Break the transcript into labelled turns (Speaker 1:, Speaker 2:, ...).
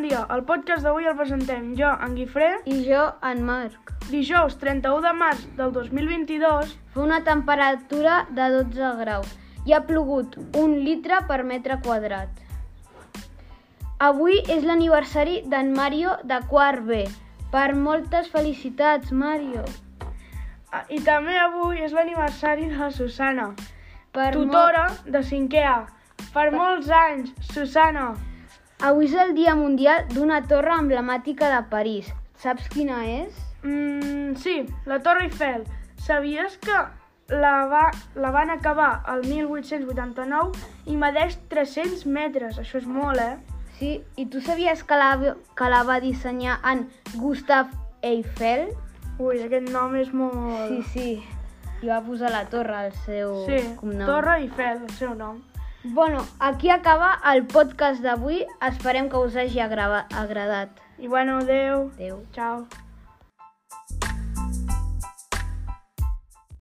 Speaker 1: dia. El podcast d'avui el presentem jo, en Guifré,
Speaker 2: I jo, en Marc.
Speaker 1: dijous 31 de març del 2022.
Speaker 2: Fa una temperatura de 12 graus i ha plogut un litre per metre quadrat. Avui és l'aniversari d'en Mario de quart B. Per moltes felicitats, Mario.
Speaker 1: Ah, I també avui és l'aniversari de la Susana,
Speaker 2: Per mo-
Speaker 1: tutora de 5è A. Per molts anys, Susana.
Speaker 2: Avui és el dia mundial d'una torre emblemàtica de París. Saps quina és?
Speaker 1: Mm, sí, la Torre Eiffel. Sabies que la, va, la van acabar el 1889 i medeix 300 metres. Això és molt, eh?
Speaker 2: Sí, i tu sabies que la, que la va dissenyar en Gustav Eiffel?
Speaker 1: Ui, aquest nom és molt...
Speaker 2: Sí, sí. I va posar la torre al seu
Speaker 1: Sí,
Speaker 2: cognom.
Speaker 1: Torre Eiffel, el seu nom.
Speaker 2: Bueno, aquí acaba el podcast d'avui. Esperem que us hagi agrava- agradat.
Speaker 1: I bueno, adeu.
Speaker 2: Adéu.
Speaker 1: Ciao.